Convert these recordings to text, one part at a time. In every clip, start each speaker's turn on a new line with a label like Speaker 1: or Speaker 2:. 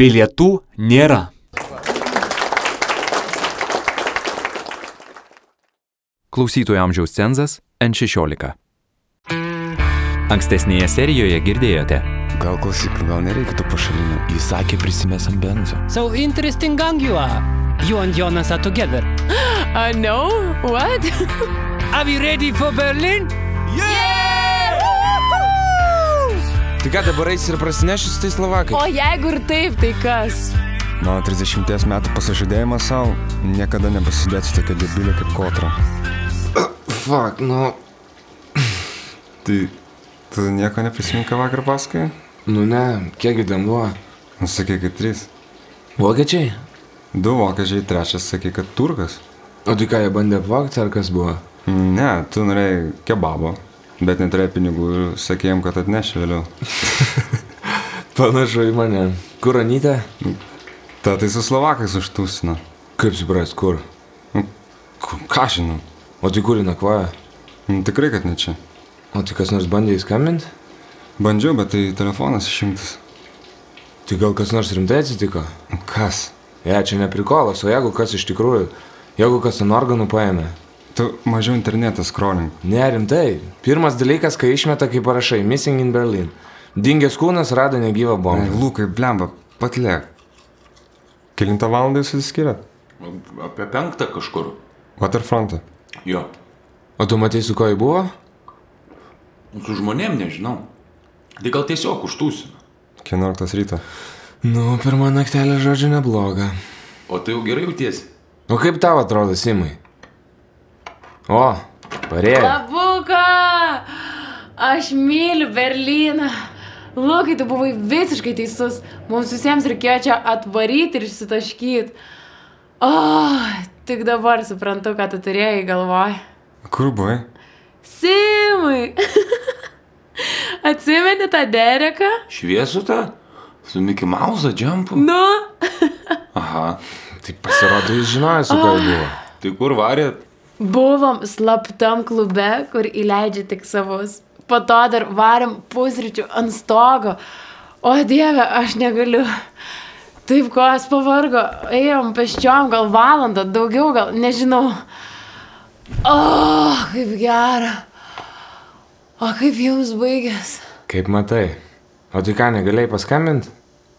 Speaker 1: Bilietų nėra.
Speaker 2: Klausytojų amžiaus cenzas N16. Ankstesnėje serijoje girdėjote.
Speaker 3: Gal klausyk, gal nereikia tų pašalinių.
Speaker 4: Jis sakė prisimėsim benzo.
Speaker 5: So interesting gang you are. You and Jonas are together.
Speaker 6: Uh, no? What?
Speaker 5: Are we ready for Berlin?
Speaker 3: Tai ką dabar eis ir prasineši su tais
Speaker 6: o
Speaker 3: slovakais?
Speaker 6: jeigu ir taip, tai kas?
Speaker 3: Mano 30 metų pasižadėjimas savo niekada nepasidėsiu tokio debilio kaip Kotro.
Speaker 7: Fuck, nu,
Speaker 3: Tai tu nieko neprisimink ką vakar pasakai?
Speaker 7: nu ne, kiekgi ten buvo.
Speaker 3: Nu, sakai, kad trys.
Speaker 7: Vokiečiai?
Speaker 3: Du vokiečiai, trečias sakai, kad turkas.
Speaker 7: O tai ką jie bandė apvokti ar kas buvo?
Speaker 3: Ne, tu norėjai kebabo, bet neturėjai pinigų ir sakėjom, kad atneši vėliau.
Speaker 7: Panašu į mane. Kur Anytė?
Speaker 3: Ta tai su slovakais užtūsina.
Speaker 7: Kaip supras, kur?
Speaker 3: Ku- Ką žinau?
Speaker 7: O tai kur nakvoja?
Speaker 3: Nu, Tikrai, kad ne čia.
Speaker 7: O tai kas nors bandė įskambinti?
Speaker 3: Bandžiau, bet tai telefonas išimtas.
Speaker 7: Tai gal kas nors rimtai atsitiko?
Speaker 3: Nu, Kas?
Speaker 7: Ja, čia neprikolas, o jeigu kas iš tikrųjų, jeigu kas ant organų paėmė?
Speaker 3: Tu mažiau internetą scrolling.
Speaker 7: Ne, rimtai. Pirmas dalykas, kai išmeta, kai parašai Missing in Berlin. Dingęs kūnas rado negyvą
Speaker 3: Ai,
Speaker 7: bombą.
Speaker 3: Lukai, blemba, patlėk. Kilintą valandą jūs įsiskiriat?
Speaker 8: Apie penktą kažkur.
Speaker 3: Waterfrontą.
Speaker 8: Jo.
Speaker 7: O tu matai, su ko jį buvo?
Speaker 8: Su žmonėm nežinau. Tai gal tiesiog užtūsina.
Speaker 3: 11 ryto.
Speaker 7: Nu, pirmą naktelę žodžiu nebloga.
Speaker 8: O tai jau gerai jautiesi.
Speaker 7: O kaip tau atrodo, Simai? O, parėjo.
Speaker 6: Labuka! Aš myliu Berliną. Lukai, tu buvai visiškai teisus. Mums visiems reikėjo čia atvaryti ir išsitaškyti. O, tik dabar suprantu, ką tu turėjai galvoj.
Speaker 3: Kur buvai?
Speaker 6: Simai! Atsimeni tą dereką?
Speaker 8: Šviesu tą? Su Mickey Mouse džempu?
Speaker 6: Nu,
Speaker 8: Aha.
Speaker 7: Tai pasirodo, jis žinojo, su kuo jį buvo.
Speaker 8: Tai kur varėt?
Speaker 6: buvom slaptam klube, kur įleidžia tik savus. Po to dar varėm pusryčių ant stogo. O dieve, aš negaliu. Taip, ko aš pavargo. Ėjom peščiom gal valandą, daugiau gal, nežinau. O, kaip gera. O kaip jums baigės?
Speaker 7: Kaip matai? O tai ką, negalėjai paskambinti?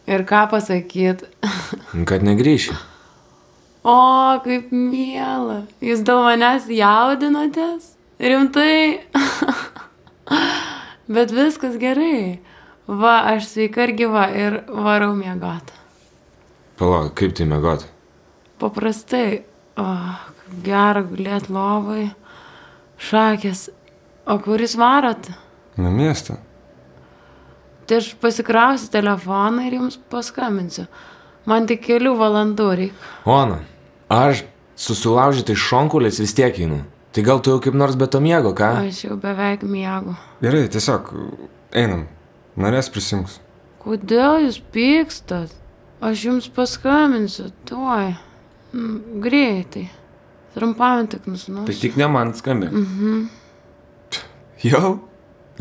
Speaker 6: Ir ką pasakyti?
Speaker 7: Nu, Kad negryši.
Speaker 6: O, kaip miela. Jūs dėl manęs jaudinotės? Rimtai. Bet viskas gerai. Va, aš sveika ir gyva ir varau miegoti.
Speaker 7: Palauk, kaip tai mėgot?
Speaker 6: Paprastai. O, kaip gera gulėt lovai. Šakės. O kuris varot?
Speaker 3: Na miestą.
Speaker 6: Tai aš pasikrausiu telefoną ir jums paskambinsiu. Man tik kelių valandų reikia.
Speaker 7: Ona, aš susilaužytai šonkulės vis tiek einu. Tai gal tu jau kaip nors be to miego, ką?
Speaker 6: Aš jau beveik miegu.
Speaker 3: Gerai, tiesiog einam. Norės prisijungs.
Speaker 6: Kodėl jūs pykstat? Aš jums paskambinsiu, tuoj. Mm, Greitai. Trumpam tik
Speaker 8: Tai
Speaker 6: nusinausiu.
Speaker 8: tik ne man skambi. Mm.
Speaker 7: Jau?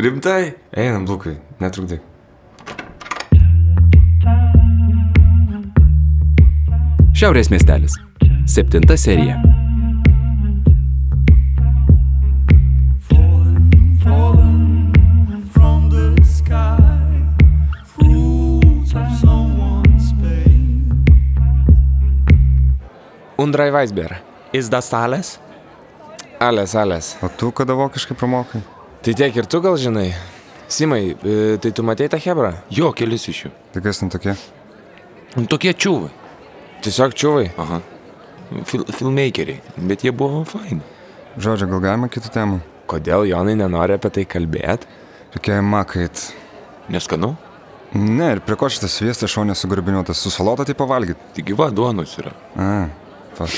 Speaker 7: Rimtai?
Speaker 3: Einam, Lukai, netrukdai.
Speaker 2: Šiaurės miestelis. Septinta serija.
Speaker 7: Undrai Weisber.
Speaker 8: Is das salės?
Speaker 7: Alės, alės.
Speaker 3: O tu kada vokiškai pramokai?
Speaker 7: Tai tiek ir tu gal žinai. Simai, e, tai tu matei tą hebrą?
Speaker 8: Jo, kelis iš jų.
Speaker 3: Tai kas ten tokie?
Speaker 8: Nu, Tokie čiūvai.
Speaker 7: Tiesiog čiūvai.
Speaker 8: Aha. Fil filmmakeriai. Bet jie buvo faini.
Speaker 3: Žodžiu, gal galima kitų temų?
Speaker 7: Kodėl Jonai nenori apie tai kalbėti?
Speaker 3: Tokie makait.
Speaker 8: Neskanu?
Speaker 3: Ne, ir prie ko šitas sviestas šonė sugarbiniuotas? Su salota tai pavalgyt.
Speaker 8: Tik gyva duonos yra.
Speaker 3: A, pas.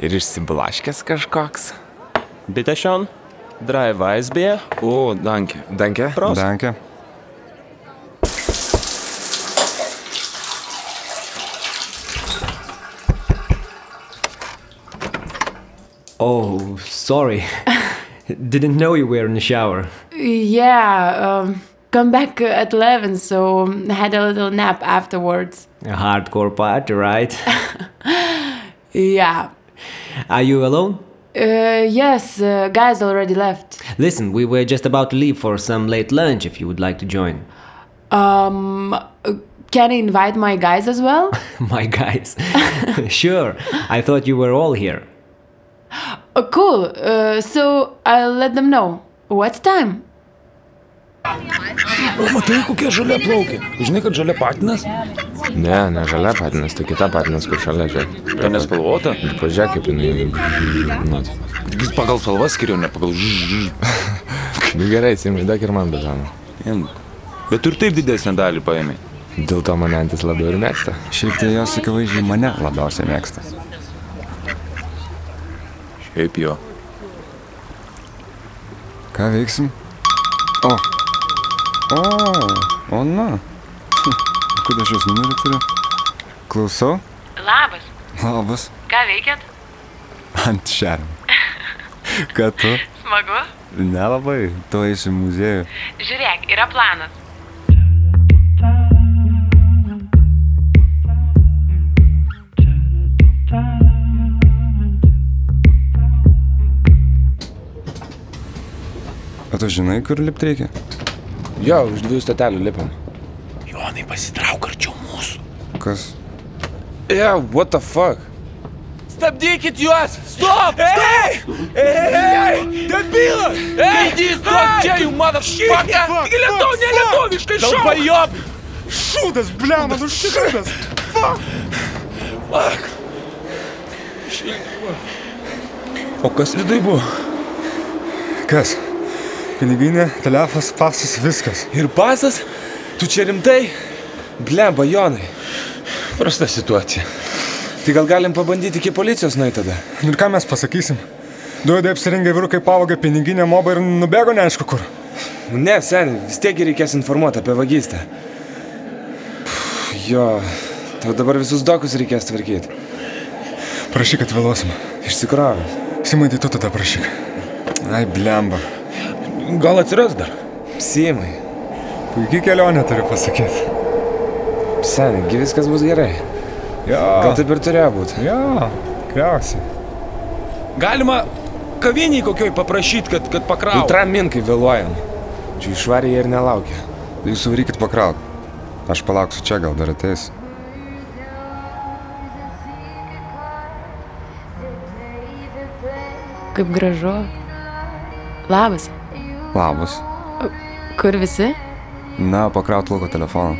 Speaker 7: Ir išsiblaškęs kažkoks.
Speaker 8: Bitte schon. Drei Weißbier. O, danke.
Speaker 7: Dankė?
Speaker 8: Prost.
Speaker 3: Danke.
Speaker 9: Oh, sorry. Didn't know you were in the shower.
Speaker 6: Yeah, um, come back at 11, so had a little nap afterwards.
Speaker 9: A hardcore party, right?
Speaker 6: Yeah.
Speaker 9: Are you alone?
Speaker 6: Uh, yes, uh, guys already left.
Speaker 9: Listen, we were just about to leave for some late lunch if you would like to join.
Speaker 6: Um, uh, can I invite my guys as well?
Speaker 9: My guys. sure, I thought you were all here.
Speaker 6: Uh, cool. Uh, so I'll let them know. What time?
Speaker 4: Matai, kokia žalia plaukia. Žinai, kad žalia patinas?
Speaker 7: Ne, ne žalia patinas, tai kita patinas, kur šalia žiūri.
Speaker 8: Ta nespalvota?
Speaker 7: Ir pažiūrėk, kaip jinai. Nu,
Speaker 8: Tik jis pagal spalvas skiriu, ne pagal žž.
Speaker 7: nu gerai, simai, duok ir man bežano.
Speaker 8: Bet tu ir taip didesnę dalį paėmė.
Speaker 7: Dėl to mane antis labiau ir mėgsta.
Speaker 3: Šiaip tai jos akivaizdžiai mane labiausiai mėgsta.
Speaker 8: Šiaip jo.
Speaker 3: Ką veiksim? O. O. O na. Hm, Kur aš jos numerį turiu? Klausau.
Speaker 1: Labas,
Speaker 3: Labas.
Speaker 1: ką veikėt?
Speaker 3: Ant šerm. Ką tu?
Speaker 1: Smagu.
Speaker 3: Nelabai. Tu eisi į muziejų.
Speaker 1: Žiūrėk, yra planas.
Speaker 3: O tu žinai, kur lipti reikia?
Speaker 7: Jo, už dviejų stotelių lipam.
Speaker 4: Jonai, pasitrauk arčiau mūsų.
Speaker 3: Kas?
Speaker 7: Yeah, what the fuck?
Speaker 10: Stabdykit juos! Stop! Ei! Ei! Debilas! Ei! Stop! Čia jų mano špaka! Taigi lietuvių, ne lietuviškai šau! Dalbajop! Šūdas, blema, nu šūdas! Fuck! Fuck!
Speaker 7: O kas vidai buvo?
Speaker 3: Kas? Piniginė, telefas, pasas, viskas.
Speaker 10: Ir pasas? Tu čia rimtai?
Speaker 7: Blemba, Jonai.
Speaker 10: Prasta situacija.
Speaker 7: Tai gal galim pabandyti iki policijos nueiti tada?
Speaker 3: Nu Ir ką mes pasakysim? Duodai apsirengę vyrukai pavogė piniginę mobą ir nubėgo neaišku kur.
Speaker 7: Nu, Ne, seniai, vis tiek gi reikės informuoti apie vagystę. Pff, Jo, tau dabar visus dokus reikės tvarkyti.
Speaker 3: Prašyk, kad vėluosim.
Speaker 7: Išsikrovęs.
Speaker 3: Simai, tai tu tada prašyk. Ai, blemba.
Speaker 10: Gal atsiras dar?
Speaker 7: Simai,
Speaker 3: Puikiai kelionė turiu pasakyti.
Speaker 7: seniai, gi viskas bus gerai.
Speaker 3: Jo.
Speaker 7: Gal taip ir turėjo būti.
Speaker 3: Jo, tikriausiai.
Speaker 10: Galima kaviniai kokioj paprašyti, kad, kad pakrautų.
Speaker 7: Ultraminkai vėluojam. Čia išvarė ir nelaukia.
Speaker 3: Jūs suvarykit pakraut. Aš palauksiu čia, gal dar ateis.
Speaker 6: Kaip gražu. Labas.
Speaker 3: Labas.
Speaker 6: Kur visi?
Speaker 3: Na, pakraut lauko telefoną.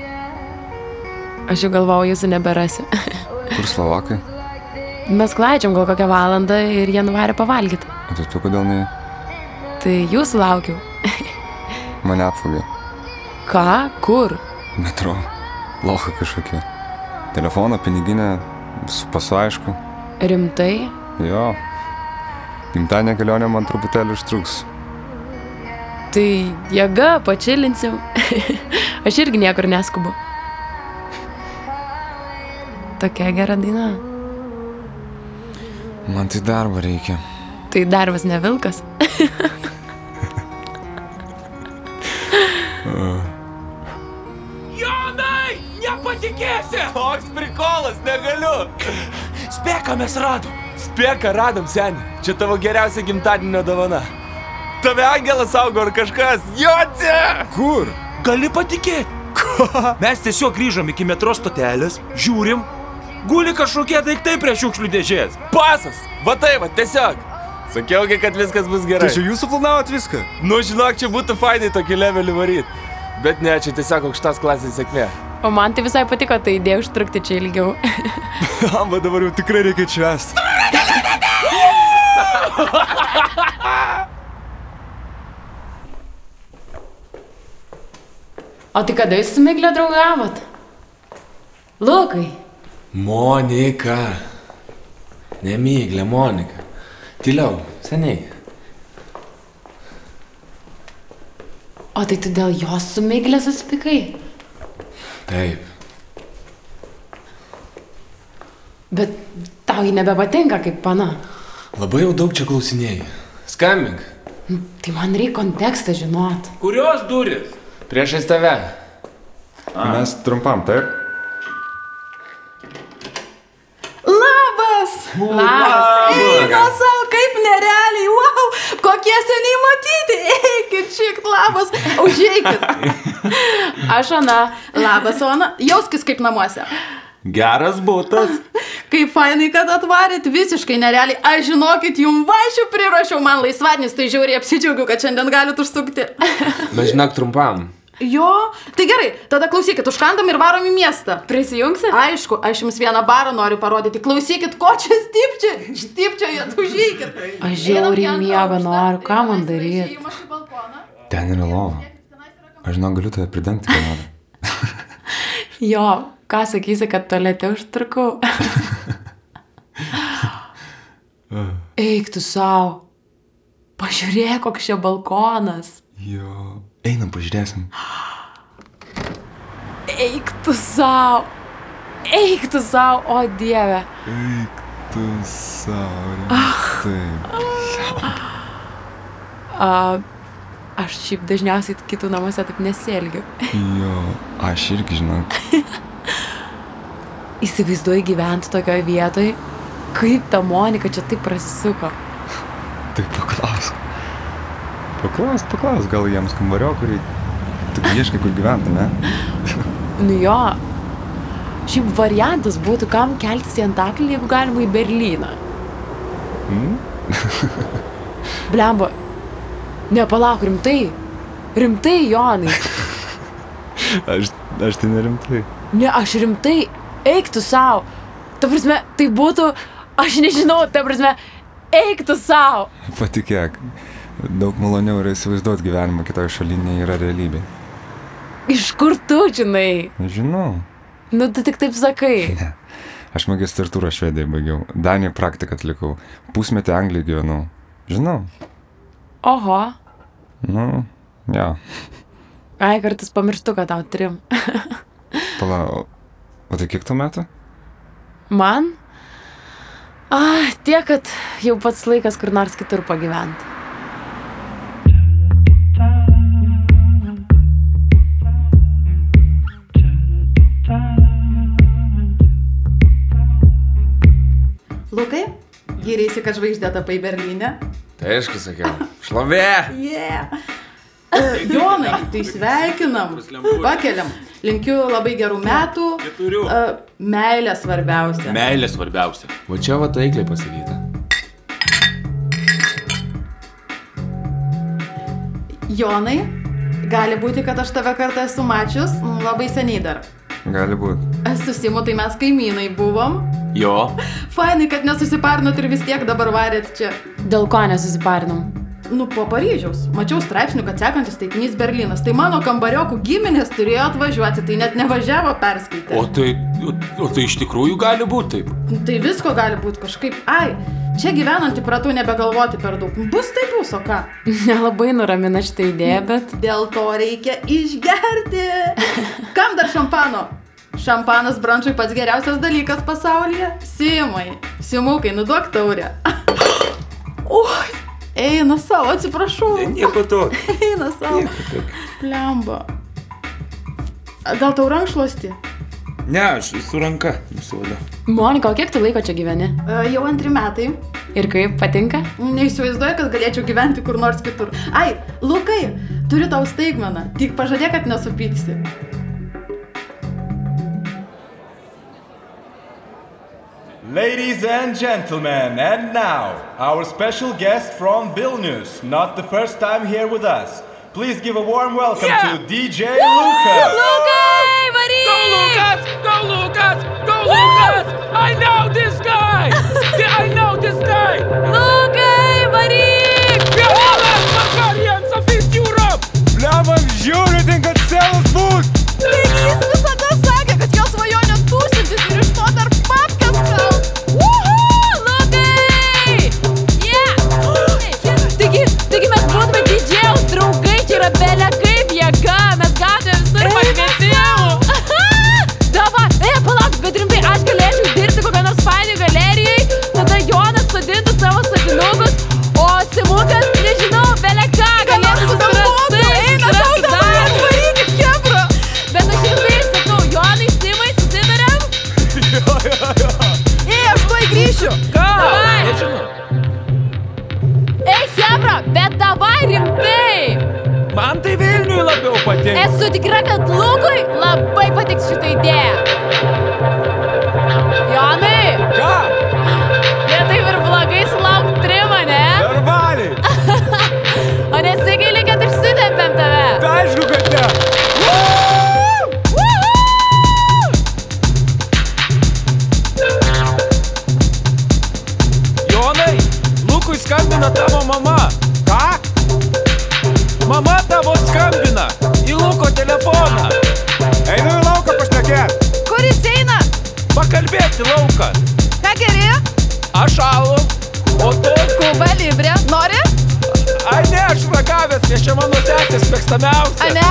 Speaker 6: Aš jau galvau, jūsų neberasiu.
Speaker 3: Kur slovakai?
Speaker 6: Mes klaidžiam gal kokią valandą ir jie nuvarė pavalgyti.
Speaker 3: O tai tu kodėl ne?
Speaker 6: Tai jūsų laukiu.
Speaker 3: Mane apfogė.
Speaker 6: Ką? Kur?
Speaker 3: Metro. Loha kažkokia. Telefoną, piniginę, su pasu aišku.
Speaker 6: Rimtai?
Speaker 3: Jo. Gimtadienio kelionė man truputėlį užtruks.
Speaker 6: Tai jėga, pačilinsim. Aš irgi niekur neskubu. Tokia gera daina.
Speaker 3: Man tai darbo reikia.
Speaker 6: Tai darbas ne vilkas.
Speaker 10: Jonai, nepatikėsi! Toks prikolas, negaliu. Spėką mes radom. Spėką radom, seniai. Čia tavo geriausia gimtadienio dovana. Tave angelas saugo ar kažkas. Jotė! Kur? Gali patikėti. Mes tiesiog grįžom iki metro stotelės, žiūrim. Guli kažkokie daiktai prie šiukšlių dėžės.
Speaker 7: Pasas! Va tai va, tiesiog. Sakiaugi, kad viskas bus gerai.
Speaker 3: Tai jūs suplanavot viską?
Speaker 7: Nu, žinok, čia būtų fainai tokį levelį varyt. Bet ne, čia tiesiog aukštas klasės sėkmė.
Speaker 6: O man tai visai patiko ta idėja užtrukti čia ilgiau.
Speaker 3: Tam dabar jau tikrai reikia švęsti.
Speaker 6: O tai kada jūs su Miglė draugavot? Lukai,
Speaker 7: Monika. Nemyglė, Monika. Tyliau, seniai.
Speaker 6: o tai tu dėl jos su Miglė susipikai?
Speaker 7: Taip.
Speaker 6: Bet tau ji nebepatinka kaip pana.
Speaker 7: Labai jau daug čia klausinėjai. Skambink.
Speaker 6: Tai man reikia kontekstą žinot.
Speaker 10: Kurios durys?
Speaker 7: Priešais tave.
Speaker 3: Mes trumpam, taip?
Speaker 6: Labas.
Speaker 8: Labas.
Speaker 6: Eina savo, kaip nerealiai, wow, kokie seniai matyti, eikit, šik, labas, užėjkit. Aš Ana,
Speaker 11: Labas, Ona. Jauskis kaip namuose.
Speaker 8: Geras būtas.
Speaker 11: Kaip fainai, kad atvarėt, visiškai nerealiai. Aš žinokit, jum vaišių prirašiau, man laisvadienis, tai žiauriai apsidžiaugiu, kad šiandien galit užsukti.
Speaker 7: Bet žinok trumpam.
Speaker 11: Jo, tai gerai, tada klausykit, užkandam ir varom į miestą. Prisijungsi? Aišku, aš jums vieną barą noriu parodyti. Klausykit, ko čia stipčia, stipčia, jie užžykit.
Speaker 6: aš žiauriai miego noriu, ką man daryti?
Speaker 3: Ten yra lova. Aš žinau, galiu tave pridengti, kai nori.
Speaker 6: Jo, ką sakysi, kad tolėte užtrukau? Eik tu savo. Pažiūrėk, koks čia balkonas.
Speaker 3: Jo. Einam, pažiūrėsim.
Speaker 6: Eik tu savo. Eik tu savo, o dieve.
Speaker 3: Eik tu saurė. Taip.
Speaker 6: A, aš šiaip dažniausiai kitų namuose taip nesielgiu.
Speaker 3: Jo, aš irgi žinau.
Speaker 6: Įsivaizduoju gyventi tokioje vietoje, kaip ta Monika čia taip prasisuko.
Speaker 3: Tai paklausk. Paklausk, paklausk, gal jiems kambario, kurį tu ieškai, kur gyventi, ne?
Speaker 6: Nu jo, šiaip variantas būtų, kam keltis į Antaklį, jeigu galima į Berlyną.
Speaker 3: Mm?
Speaker 6: Blemba, nepalauk rimtai. Rimtai, Jonai.
Speaker 3: Aš, aš tai nerimtai.
Speaker 6: Ne, aš rimtai, eik tu savo. Ta prasme, tai būtų, aš nežinau, ta prasme, eik tu savo.
Speaker 3: Patikėk, daug maloniau yra įsivaizduoti gyvenimą kitoje šalyje, nei yra realybė.
Speaker 6: Iš kur tu žinai?
Speaker 3: Žinau.
Speaker 6: Nu, tu tik taip sakai.
Speaker 3: Ne. Aš magistratūrą Švedijoje baigiau, Danijoje praktiką atlikau, pusmetį Anglijoje gyvenau. Žinau.
Speaker 6: Oho,
Speaker 3: Nu, ja.
Speaker 6: ai kartais pamirštu, kad tau trim.
Speaker 3: Pala, o- o tai kiek tu metų?
Speaker 6: Man? Ah, tiek, kad jau pats laikas kur nors kitur pagyventi.
Speaker 11: Lukai, gyrėsi, kad žvaigždė tapai Berlyne.
Speaker 7: Tai aišku, sakiau. Šlovė!
Speaker 11: Yeah. E, Jonai, tai sveikinam, pakeliam. Linkiu labai gerų metų.
Speaker 8: Keturių.
Speaker 11: E, Meilė svarbiausia.
Speaker 8: Meilė svarbiausia.
Speaker 7: Va čia va taikliai pasakyta.
Speaker 11: Jonai, gali būti, kad aš tave kartą esu mačius, mm, labai seniai dar.
Speaker 3: Gali būti.
Speaker 11: Susimu, tai mes kaimynai buvom.
Speaker 8: Jo.
Speaker 11: Fainai, kad nesusiparnot ir vis tiek dabar varėt čia.
Speaker 6: Dėl ko nesusiparnam?
Speaker 11: Nu, po Paryžiaus. Mačiau straipsnių, kad sekantis taikinys Berlynas. Tai mano kambariokų giminės turėjo atvažiuoti, tai net nevažiavo perskaitę.
Speaker 8: O tai, o, o tai iš tikrųjų gali būti taip.
Speaker 11: Tai visko gali būti kažkaip. Ai, čia gyvenant įpratau nebegalvoti per daug. Bus tai bus, o ką?
Speaker 6: Nelabai nuramina šitą idėją, bet...
Speaker 11: Dėl to reikia išgerti. Kam dar šampano? Šampanas branšui pats geriausias dalykas pasaulyje. Simai, simukai, nuduok taurę. Oi, eina savo, atsiprašau.
Speaker 8: Nieko to.
Speaker 11: Eina savo. Plemba. Gal E, tau rankšluosti?
Speaker 8: Ne, aš su ranka nusivalau.
Speaker 6: Monika, o kiek tu laiko čia gyveni?
Speaker 11: E, Jau antri metai.
Speaker 6: Ir kaip patinka?
Speaker 11: Neįsivaizduoju, kad galėčiau gyventi kur nors kitur. Ai, Lukai, turiu tau staigmeną. Tik pažadėk, kad nesupyksi.
Speaker 12: Ladies and gentlemen, and now our special guest from Vilnius, not the first time here with us. Please give a warm welcome to DJ Lucas.
Speaker 10: Lukai, varyk! Go Lukas! Go Lukas! Go Lukas! I know this guy! Di- I know this guy! Lukai, varyk! Vienas vakarienės apie Europe!
Speaker 12: Lemon, žiūri, tinka celas būt!
Speaker 11: Jis visada sakė, kad jo svajonė tūsintis ir iš to dar papkas tau. Lukai!
Speaker 13: Taigi, taigi mes būtume didžiaus draugai, čia yra belė kaip jėga, mes gatvėje visur pakvietėjau. Dabar, e, palauk, bet rimtai, aš galėčiau dirbti kokią nors fainį galerijai, tada Jonas sodintų savo sadinukus, o Simukas, nežinau, belė ką, galėtų susirasti. Eina savo dabar, atvarykit, kebra. Bet aš rimtai
Speaker 6: tai
Speaker 13: sakau, Jonai, Simai, susidariam.
Speaker 12: Jo, jo, jo.
Speaker 13: E, aš tuoj grįšiu.
Speaker 12: Ką?
Speaker 10: Lukui tai labiau patinka.
Speaker 6: Esu tikra, kad Lukui labai patiks šitą idėją. Jonai!
Speaker 10: Ką?
Speaker 6: Ne taip ir blogai sulauk trimą, ne?
Speaker 10: Normaliai.
Speaker 6: o nesigaili, kad išsitempėm tave.
Speaker 10: Tai aišku, kad ne. Jonai, Lukui skambina tavo mama. Ką? Mama tavo skambina į Luko telefoną. Einu į lauką pašnekėti.
Speaker 6: Kur jis eina?
Speaker 10: Pakalbėti lauką.
Speaker 6: Ką geri?
Speaker 10: Aš alu, o tu?
Speaker 6: Kuba Libre. Nori?
Speaker 10: Ai ne, aš ragavęs, nes čia mano sesės mėgstamiausia.
Speaker 6: Ane?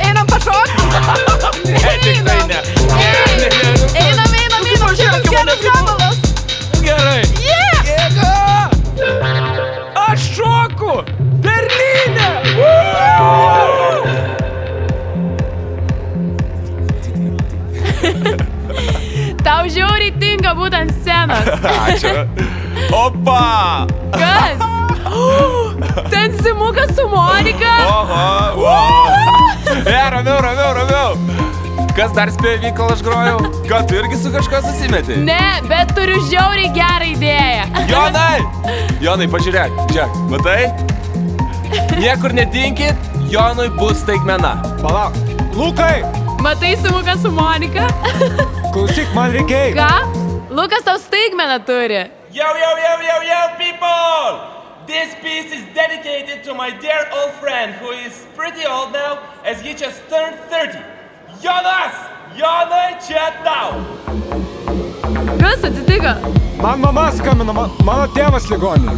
Speaker 6: Einam pašokti?
Speaker 10: ne, tikrai ne. Ne, ne, ne. nu,
Speaker 6: Einam, einam, einam. Šitas geras gabalas.
Speaker 10: Gerai.
Speaker 6: Yeah!
Speaker 10: Jėga! Aš šoku! Berlyne!
Speaker 6: Tau žiauriai tinka būtent scenos.
Speaker 10: Ačiū. Opa!
Speaker 6: Kas? Ten Simukas su Monika?
Speaker 10: Oho! Wow. E, ramiau, ramiau, ramiau. Kas dar spėjo vykol aš grojau? Ką tu irgi su kažkuo susimetė?
Speaker 6: Ne, bet turiu žiauriai gerą idėją.
Speaker 10: Jonai! Jonai, pažiūrėk, čia, matai? Niekur nedinkit, Jonui bus staigmena. Palauk. Lukai!
Speaker 6: Matai Simukas su Monika?
Speaker 10: Klausyk, man reikia eiti.
Speaker 6: Ką? Lukas tau staigmeną turi.
Speaker 14: Yo, yo, yo, yo, yo, people! This piece is dedicated to my dear old friend who is pretty old now as he just turned 30. Jonas! Jonai čia tau!
Speaker 6: Kas atsitiko?
Speaker 3: Man mama skambina, ma, mano tėvas ligoninė.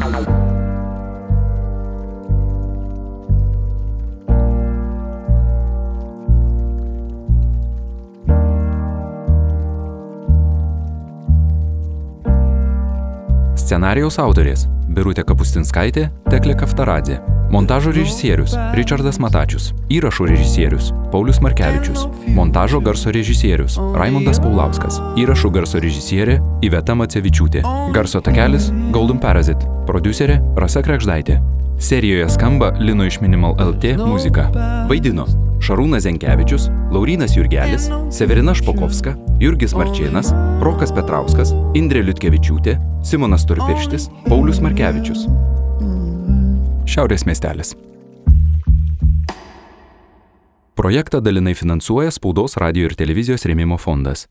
Speaker 7: Scenarijaus autorės - Birutė Kapustinskaitė, Teklė Kaftaradė. Montažo režisierius - Richardas Matačius. Įrašo režisierius - Paulius Markevičius. Montažo garso režisierius - Raimondas Paulauskas. Įrašų garso režisierė - Iveta Macevičiūtė. Garso takelis - Golden Parasite. Producerė - Rasa Krekždaitė. Serijoje skamba Lino iš Minimal LT muzika. Vaidino Šarūnas Zenkevičius, Laurinas Jurgelis, Severina Špokovska, Jurgis Marčėnas, Rokas Petrauskas, Indrė Liutkevičiūtė, Simonas Turpirštis, Paulius Markevičius. Šiaurės miestelis. Projektą dalinai finansuoja Spaudos radio ir televizijos rėmimo fondas.